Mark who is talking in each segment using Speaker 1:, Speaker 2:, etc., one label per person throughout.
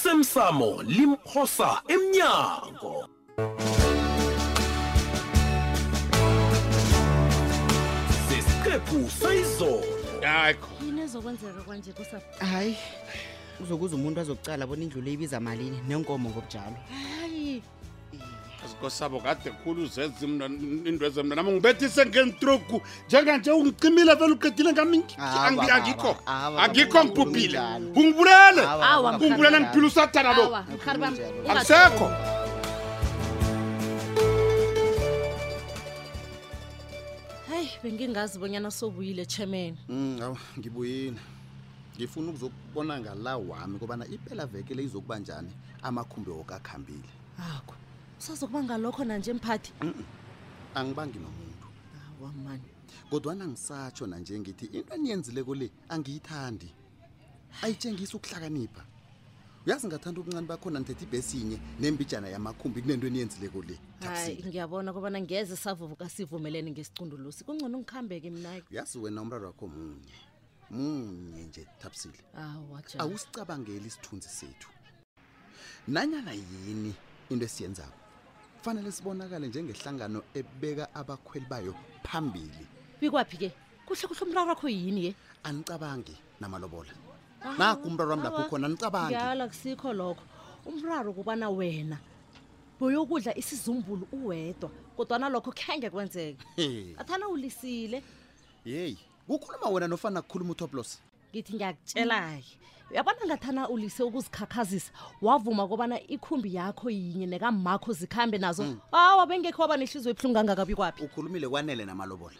Speaker 1: osemsamo limphosa emnyango sesiqephu sayizolo
Speaker 2: ayikho
Speaker 3: yini ezokwenzeka kwanje kusapho
Speaker 4: hayi uzokuza umuntu azokucala bona indlu le ibiza malini nenkomo ngobujalo
Speaker 3: hayi
Speaker 2: sikosabo kade khulu uzenza into ezemna nami ngibethise ngenitrugu njenganje ungicimile vele uqedile ngami ngi-
Speaker 4: Awa,
Speaker 2: angi- angikho
Speaker 4: awa, awa,
Speaker 2: angikho
Speaker 4: awa,
Speaker 2: ngibhubhile
Speaker 4: awa,
Speaker 2: ungibulele
Speaker 5: Eh,
Speaker 4: awa,
Speaker 3: Awa,
Speaker 4: awa,
Speaker 2: ungibulele
Speaker 4: awa.
Speaker 2: ngiphila usathana lo
Speaker 3: awa mhari bam
Speaker 2: akusekho
Speaker 3: hayi bengingazi bonyana sobuyile chairman
Speaker 6: Mm, awu ngibuyile ngifuna ukuzokubona ngala wami kobana impela veke le izokuba njani amakhumbi woke akhambile
Speaker 3: akho usazokuba ngalokho nanje mphathi
Speaker 6: angibangi nomuntu
Speaker 3: awa mani
Speaker 6: kodwana ngisatsho nanje ngithi into eniyenzileko le angiyithandi ayitshengisi ukuhlakanipha uyazi ngathanda ubuncane bakhona nithetha ibesinye nembijana yamakhumbi kunento eniyenzileko le
Speaker 3: hayi
Speaker 6: Thabisile.
Speaker 3: ngiyabona kobana ngeze savuvuka sivumelene ngesicundulusi kungcono ngikhambeke mnake
Speaker 6: uyazi wena umraro wakho munye munye nje thabisile
Speaker 3: Mm. awa ja
Speaker 6: awusicabangeli isithunzi sethu nanyana yini into esiyenzako kufanele sibonakale njengehlangano ebeka abakhweli bayo phambili
Speaker 3: bikwaphi ke kuhle kuhle umraro wakho yini-ke
Speaker 6: anicabangi namalobola naku umraro wami lapho
Speaker 3: Ah, awa.
Speaker 6: ukhona anicabangi
Speaker 3: ngiyala kusikho lokho umraro kubana wena boyokudla isizumbulu uwedwa kodwana lokho khenge kwenzeke
Speaker 6: He,
Speaker 3: athana ulisile
Speaker 6: yeyi kukhuluma wena nofana kukhuluma utoplos
Speaker 3: ngithi ngiyakutshela-ke uyabona ngathana ulise ukuzikhakhazisa wavuma kobana ikhumbi yakho yinye nekamakho zikhambe nazo
Speaker 6: Mm.
Speaker 3: awa bengekho waba nehliziyo ebuhlungu kangakabi kwaphi
Speaker 6: ukhulumile kwanele namalobola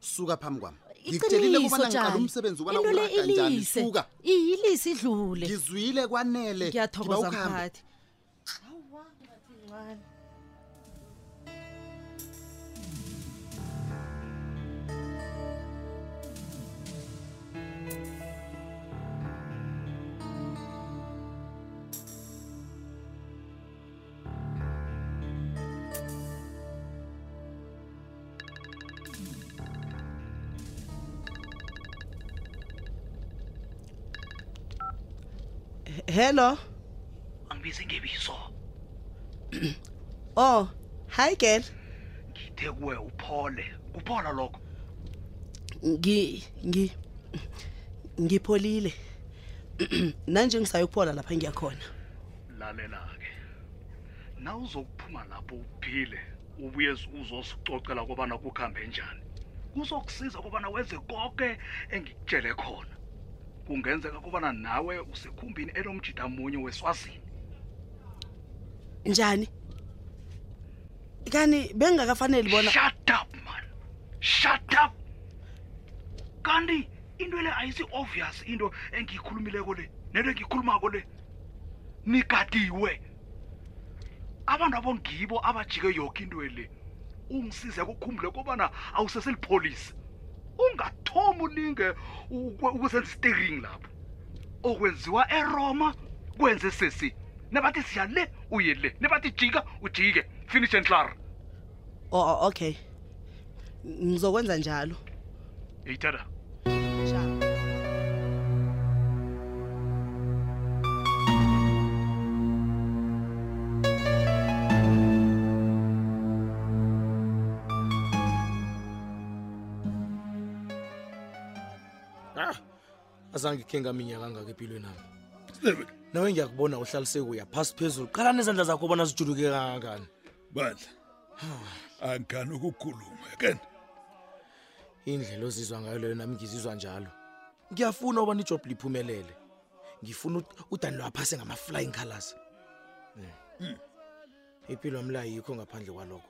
Speaker 6: suka phambi kwami ngikutshelile
Speaker 3: Iqiniso,
Speaker 6: kubana ngiqala
Speaker 3: Jali.
Speaker 6: umsebenzi ubana
Speaker 3: Into le
Speaker 6: uraganjani
Speaker 3: ilise.
Speaker 6: suka
Speaker 3: iyilise idlule
Speaker 6: ngizwile kwanele
Speaker 3: ngiyathokoza
Speaker 6: Ngiba ukhambe.
Speaker 3: mphathi Awa, ngathi ncane.
Speaker 7: hello
Speaker 8: angibizi ngebizo
Speaker 7: oh hi girl
Speaker 8: ngithe kuwe uphole kuphola lokho
Speaker 7: ngi ngi ngipholile nanje ngisayokuphola lapha ngiyakhona
Speaker 8: lalela-ke na uzokuphuma lapho uphile ubuye uzosicocela kobana kukuhambe njani kuzokusiza kobana wenze konke engikutshele khona kungenzeka kobana nawe usekhumbini enomjida munye weswazini
Speaker 7: njani kani bengingakafanele bona
Speaker 8: shut up man shut up kanti into le ayisi-obvious into engiyikhulumileko le nento engiyikhulumako le nigadiwe abantu abo ngibo abajike yoke into le ungisize kukhumbule kobana awuseselipholisa ungathomi ulinge ukwe- ukuzenza i-steering lapho okwenziwa eroma kwenze sesi nebathi siya le uye le nebathi jika ujike finish and clar
Speaker 7: oh oh, okay ngizokwenza njalo
Speaker 8: yeyithanda
Speaker 9: ah azange khe ngaminyaka angaka empilweni nami nawe ngiyakubona uhlalisekuya phasi phezulu qalani izandla zakho ubona zijuluke kangangani
Speaker 2: bandla angani ukukhuluma kani
Speaker 9: indlela ozizwa ngayo leyo nami ngizizwa njalo ngiyafuna ubona ijob liphumelele ngifuna ut- udanilo aphase ngama-flying colors Eh. impilo wami layikho ngaphandle kwalokho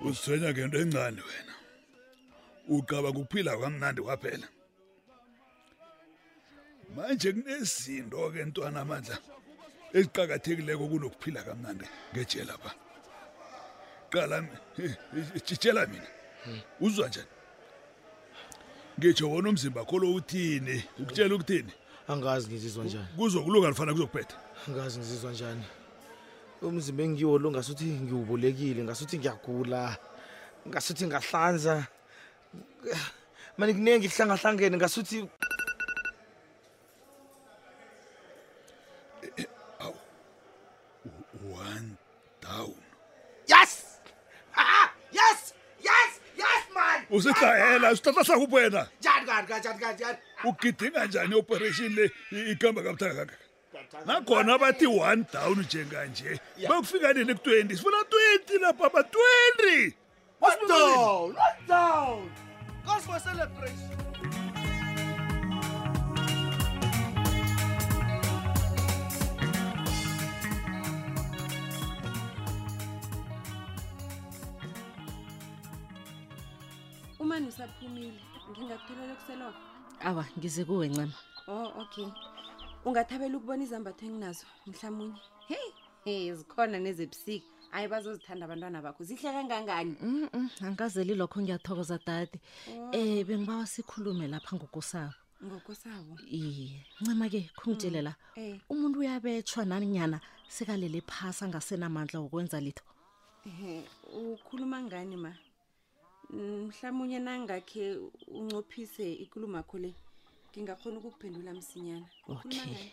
Speaker 2: uzithwenya ngento encane wena uqabanga ukuphila kwamnandi kwaphela manje kunezinto-ke ntwana amandla eziqakathekileko kunokuphila kamnandi ngejela pha qala eh, tshitshela mina uzwa njani ngitsho wona umzimba kho lo uthini ukutshela ukuthini
Speaker 9: angazi ngizizwa njani
Speaker 2: kuzokulunga lifana kuzokuphetha
Speaker 9: angazi ngizizwa njani umzimba engiwo lo ngasuthi ngiwubolekile ngasuthi ngiyagula ngasuthi ngahlanza mani kuningi kuhlangahlangene ngasuthi
Speaker 6: Ah,
Speaker 10: o se tlahela setata sa go wena
Speaker 9: njani kani kanjani kanjani
Speaker 10: o gidinga njani operation le i- ikamba ka buthaka nakhona bathi one down njenganje bakufika nini ku-20 sifuna 20 lapha ba 20
Speaker 9: down what down cause for celebration
Speaker 11: umani usaphumile ngingakutholela ukuseloko
Speaker 3: awa ngize kuwe ncema
Speaker 11: oh okay ungathabela ukubona izambatho enginazo mhlawumunye heyi hey zikhona nezebusika hayi bazozithanda abantwana bakho zihle kangangani
Speaker 3: Mm-mm, angazeli lokho ngiyathokoza dade um bengibawa sikhulume lapha ngokusabo
Speaker 11: ngokosabo
Speaker 3: iye ncema-ke khungitshele la
Speaker 11: Eh.
Speaker 3: umuntu uyabetshwa nanyana sekalele phasi angasenamandla wokwenza litho
Speaker 11: ehe ukhuluma ngani ma mhlawumunye nangakhe uncophise ikulumakho le ngingakhona ukukuphendula msinyana Ukhuluma
Speaker 3: okay
Speaker 11: ngani?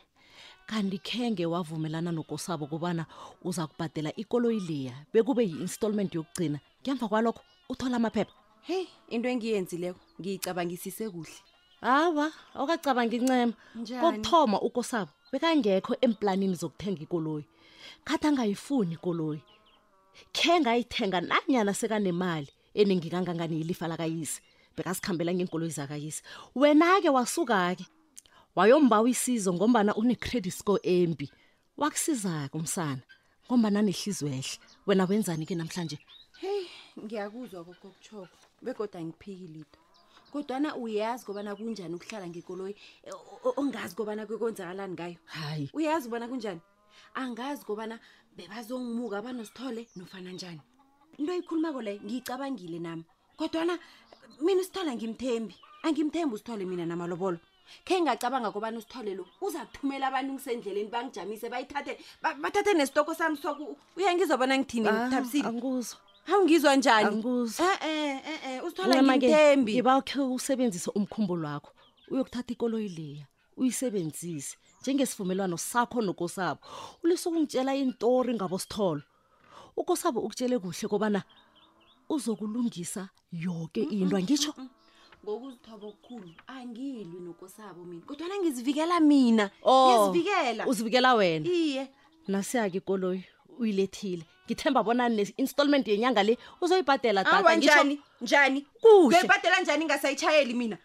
Speaker 3: kanti khenge wavumelana nokosabo kubana uza kubhadela ikoloyi leya bekube yi-installment yokugcina ngemva kwalokho uthola amaphepha
Speaker 11: heyi into engiyenzileko ngiyicabangisise kuhle
Speaker 3: hawa awukacabangi ncema
Speaker 11: Njani?
Speaker 3: kokuthoma ukosabo bekangekho emplanini zokuthenga ikoloyi khathi angayifuni ikoloyi khe ngayithenga nanyana sekanemali eningi kangangani yilifa lakayise bekasikhambela ngeenkoloyi zakayise wena-ke wasuka-ke wayombawa isizo ngombana une-credit score embi wakusiza-ke umsana ngombana nehliziyo ehle wena wenzani-ke namhlanje
Speaker 11: heyi ngiyakuzwa kokokuchoko begoda angiphiki lito kodwana uyazi kobana kunjani ukuhlala ngekoloyi eh, o- o- ongazi kobana kekwenzakalani ngayo
Speaker 3: hayi
Speaker 11: uyazi ubona kunjani angazi kobana bebazongimuka abanosithole nofana njani into ayikhulumako leyo ngiyicabangile nami kodwana mina usithole angimthembi angimthembi usithole mina namalobolo khe ngacabanga kobana usithole lo uza kuthumela abantu ngisendleleni bangijamise bayithathe ba- bathathe nesitoko sami soku uyangizwa bona ngithini
Speaker 3: Ah,
Speaker 11: ngithabisile
Speaker 3: anguzwa
Speaker 11: awungizwa njani
Speaker 3: anguzwa
Speaker 11: e-e e-e usithole
Speaker 3: wena-ke
Speaker 11: angimthembi
Speaker 3: ngibakhe usebenzise umkhumbulo wakho uyokuthatha ikoloyi leya uyisebenzise njengesivumelwano sakho nokosabo ulisuke ungitshela intori ngabositholo ukosabo ukutshele kuhle kobana uzokulungisa yonke
Speaker 11: Mm,
Speaker 3: into angitsho
Speaker 11: ngokuzithoba okukhulu angilwi nokosabo mina kodwana ngizivikela mina
Speaker 3: Oh,
Speaker 11: ngizivikela
Speaker 3: uzivikela wena
Speaker 11: iye
Speaker 3: nasiya-ke ikoloyi uyilethile ngithemba bona ne-installment yenyanga le uzoyibhadela
Speaker 11: awa
Speaker 3: tata
Speaker 11: njani njani
Speaker 3: Kuhle.
Speaker 11: ngiyoyibhadela njani ngasayitshayeli mina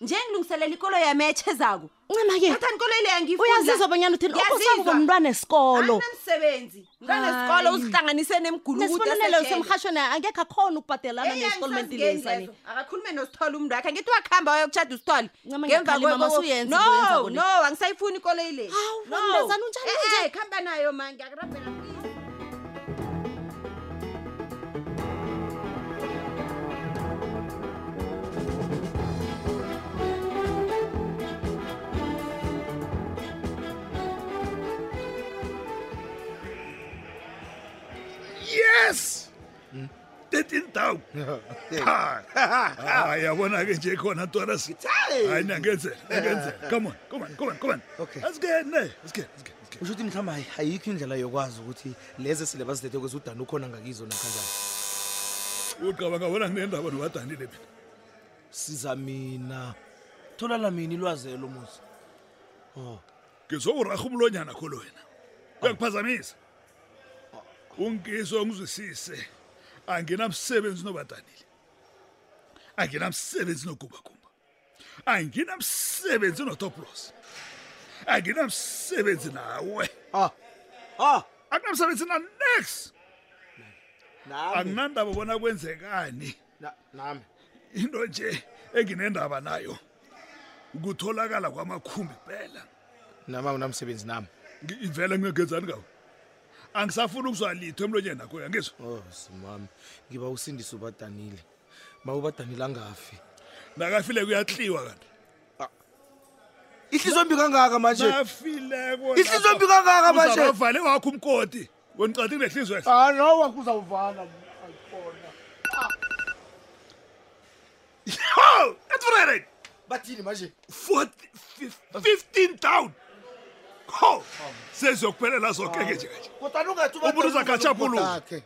Speaker 11: nje ngilungiselela ikolo yami etshezako
Speaker 3: ncema-ke
Speaker 11: thathani ikolo le yangifunda.
Speaker 3: uyazizwa bonyana uthini ukosabo
Speaker 11: Ngiyazizwa.
Speaker 3: bomntwana esikolo
Speaker 11: Anginamsebenzi.
Speaker 3: Hayi.
Speaker 11: mntwanesikolo uzihlanganise
Speaker 3: nesibonelelo semrhatshweni akekho akhona ukubhadelana ne-installment leyisaneni
Speaker 11: akakhulume nosithole umntu wakhe angithi wakuhamba wayokutshada usithole
Speaker 3: Ncema
Speaker 11: Ngemva
Speaker 3: ngiyakhalima,
Speaker 11: kwe- kwe-
Speaker 3: masuyenze into oyenzako
Speaker 11: no
Speaker 3: le.
Speaker 11: no angisayifuni ikolo ile
Speaker 3: Hawu, mntazana, unjalo nje.
Speaker 11: Eh, khamba nayo ma ngiyakurabhela
Speaker 10: yes 13 down hayi yabona ke nje khona ntwanas hayi nangenzela nangenzela come on come on come on come on
Speaker 9: Okay.
Speaker 10: let's get in there let's get let's get let's get
Speaker 9: usho ukuthi mhlawumbe ayikho indlela yokwazi ukuthi lezi sile bazilethe kwezi udana ukhona ngakizo nakhanjani
Speaker 10: uqabanga bona nginendaba nobadanile mina
Speaker 9: siza mina tholala mina ilwazelo muzi
Speaker 10: ngizowuraha umlonyana kho lwena uyakuphazamisa ungizwe ngizwisise anginamsebenzi nobadanile anginamsebenzi nogumbagumba anginamsebenzi notoplos anginamsebenzi nawe
Speaker 9: ah ah
Speaker 10: akunamsebenzi nanex
Speaker 9: nami
Speaker 10: anginandaba bona kwenzekani
Speaker 9: na- nami
Speaker 10: into nje enginendaba nayo ukutholakala kwamakhumbi kuphela
Speaker 9: nami anginamsebenzi nami
Speaker 10: Ngi- vele ngingenzani ngawo angisafuni ukuzwa litho emlonyeni nakho yangizwa
Speaker 9: oh simami ngiba usindise ubadanile ma ubadanile angafi
Speaker 10: nakafileko uyatliwa kanti
Speaker 9: ihliziyo mbi kangaka manje
Speaker 10: nafileko
Speaker 9: Ihliziyo mbi kangaka manje?
Speaker 10: uzabavale wakho umkoti wenicadi nehliziyo ehle
Speaker 9: ah no wakuzawuvala
Speaker 10: Ho! Etfrere!
Speaker 9: bathini manje
Speaker 10: 40, 15 down
Speaker 9: Oh.
Speaker 10: ho seziyokuphelela zonke ke nje kanje
Speaker 9: kodani ungathi
Speaker 10: Umuntu uzakatshapuluka.
Speaker 9: akhe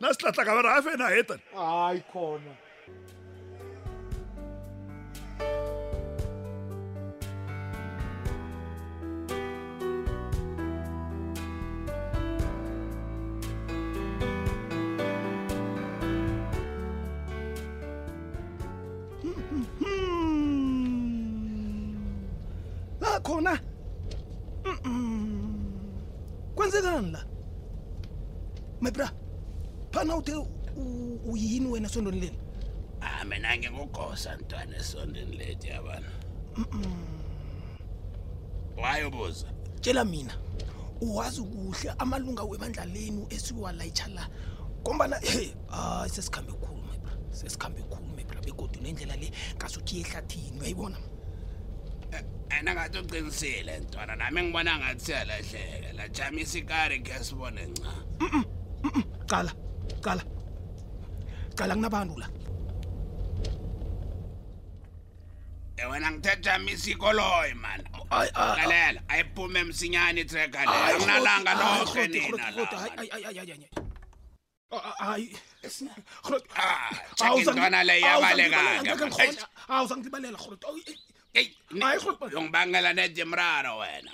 Speaker 10: nasihlahla kabana afena hetani
Speaker 9: hayi khona
Speaker 10: Hmm. Ah, Mm-mm. kwenzekani la my bra phana uthe u- uyini wena esondweni leli
Speaker 5: Ah, mina ngingugosa mntwana esondweni lethu yabantu
Speaker 10: Mm-mm.
Speaker 5: wayobuza
Speaker 10: tshela mina uwazi kuhle amalunga webandla lenu esiwalayitsha la kombana hey hayi sesikhambe khulu my bra sesikhambe khulu my bra begodu nendlela le ngasuthi yehlathini uyayibona
Speaker 5: ena ngathi uqinisile mntwana nami ngibona ngathi siyalahleka lajama isikari khe sibone nca
Speaker 10: cala cala cala kunabantu la
Speaker 5: ewena ngithe Eh, jama isikoloyi mani
Speaker 10: Ay,
Speaker 2: ah,
Speaker 10: ay, ay.
Speaker 5: lalela ayiphume msinyane itreka
Speaker 10: Ay,
Speaker 5: leyo kunalanga
Speaker 10: ay,
Speaker 5: lonke
Speaker 10: Groti,
Speaker 5: nina
Speaker 10: Groti, Groti,
Speaker 5: la
Speaker 10: ay, ay, ay, ay, ay, ay. Ah, ah, ay. Groti.
Speaker 5: check
Speaker 10: Awuzange-
Speaker 5: intwana Ah, le
Speaker 10: awuzange
Speaker 5: iyabaleka-ke,
Speaker 10: ngibale- angeke
Speaker 5: man.
Speaker 10: ngikghone. awuzangibaleka groti Awu, eh,
Speaker 5: uyongibangela nede mraro wena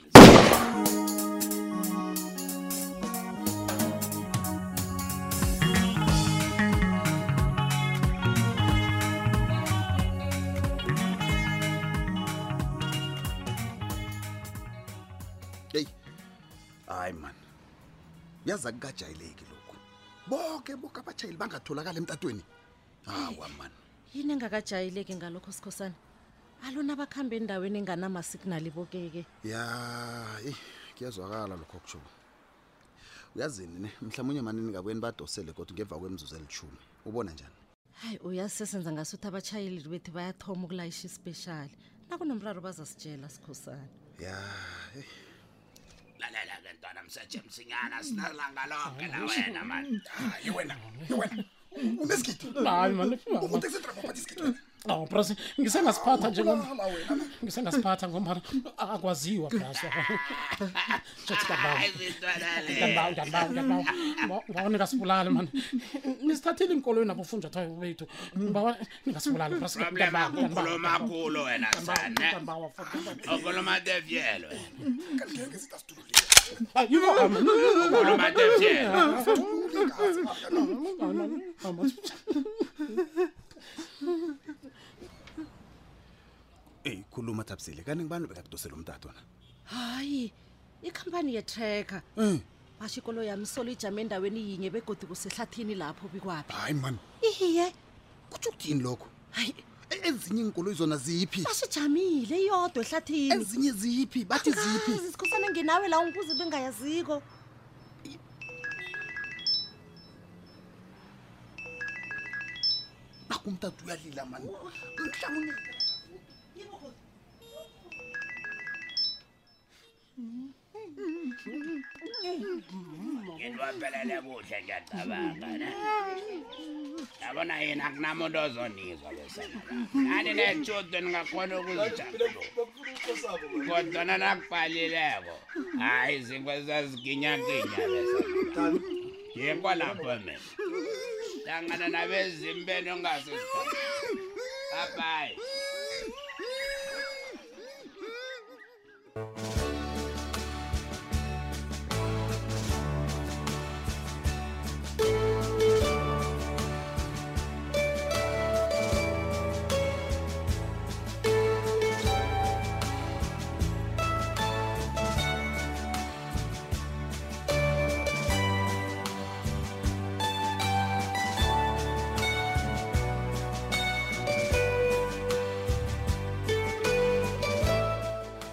Speaker 6: hey hayi man yaza kukajayeleki lokhu bonke bonke abajayeli bangatholakala emtatweni hawa mani
Speaker 3: yini engakajayeleki ngalokho sikhosana alona bakhambe endaweni enganamasignali bokeke
Speaker 6: ya eyi kuyazwakala lokho kutsho uyazini ne mhlawumunye mani ningabuyeni badosele kodwa ngemva kwemzuzu elithumi ubona njani
Speaker 3: hayi uyazi sesenza ngasuthi abatshayeli bethu bayathoma ukulayisha isipeshali nakunomraro bazasitshela sikhosana
Speaker 6: ya eh.
Speaker 5: lalela-ke mntwana mseje msinyana sinalanga lonke la wena mani
Speaker 6: hayi Ah, wena wena unesigidi
Speaker 12: hayi mani aw bras ngisengasiphatha
Speaker 6: Ubulala wena.
Speaker 12: njengombana ngisengasiphatha ngombana akwaziwa brasbawa ningasibulali mani nisithathile inkoloyi nabofunjathwayo bethu bawa ningasibulali bras
Speaker 5: problem akukhuluma kulo wena sane ukhuluma tevyelo ukhuluma tevyelo
Speaker 6: eyi khuluma thabisile kanti ngibani bekakudosela umtato na
Speaker 3: hayi ikhampani yetracker basho ikolo yami solo ijame endaweni yinye begodi kusehlathini lapho bikwaphi
Speaker 6: hayi mani
Speaker 3: iye
Speaker 6: kutsho ukuthini lokho hayi ezinye iinkoloyi zona ziphi
Speaker 3: basijamile iyodwa ehlathini
Speaker 6: ezinye ziphi bathi ziphi
Speaker 3: sikhosana nginawe la ungibuze bengayaziko
Speaker 6: akumtata uyalila mani mhlawumnye
Speaker 5: ngilwaphelele kuhle ngiyacabanga ne yabona yini akunamuntu ozonizwa besana nani netshudo ningakhona ukuzijaa kodwana nakubhalileko hayi zinkwe zaziginyaginya besana yikho lapho mina hlangana nabezimu beni ongasesikhona babayi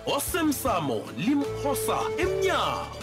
Speaker 13: osemsamo limphosa emnyango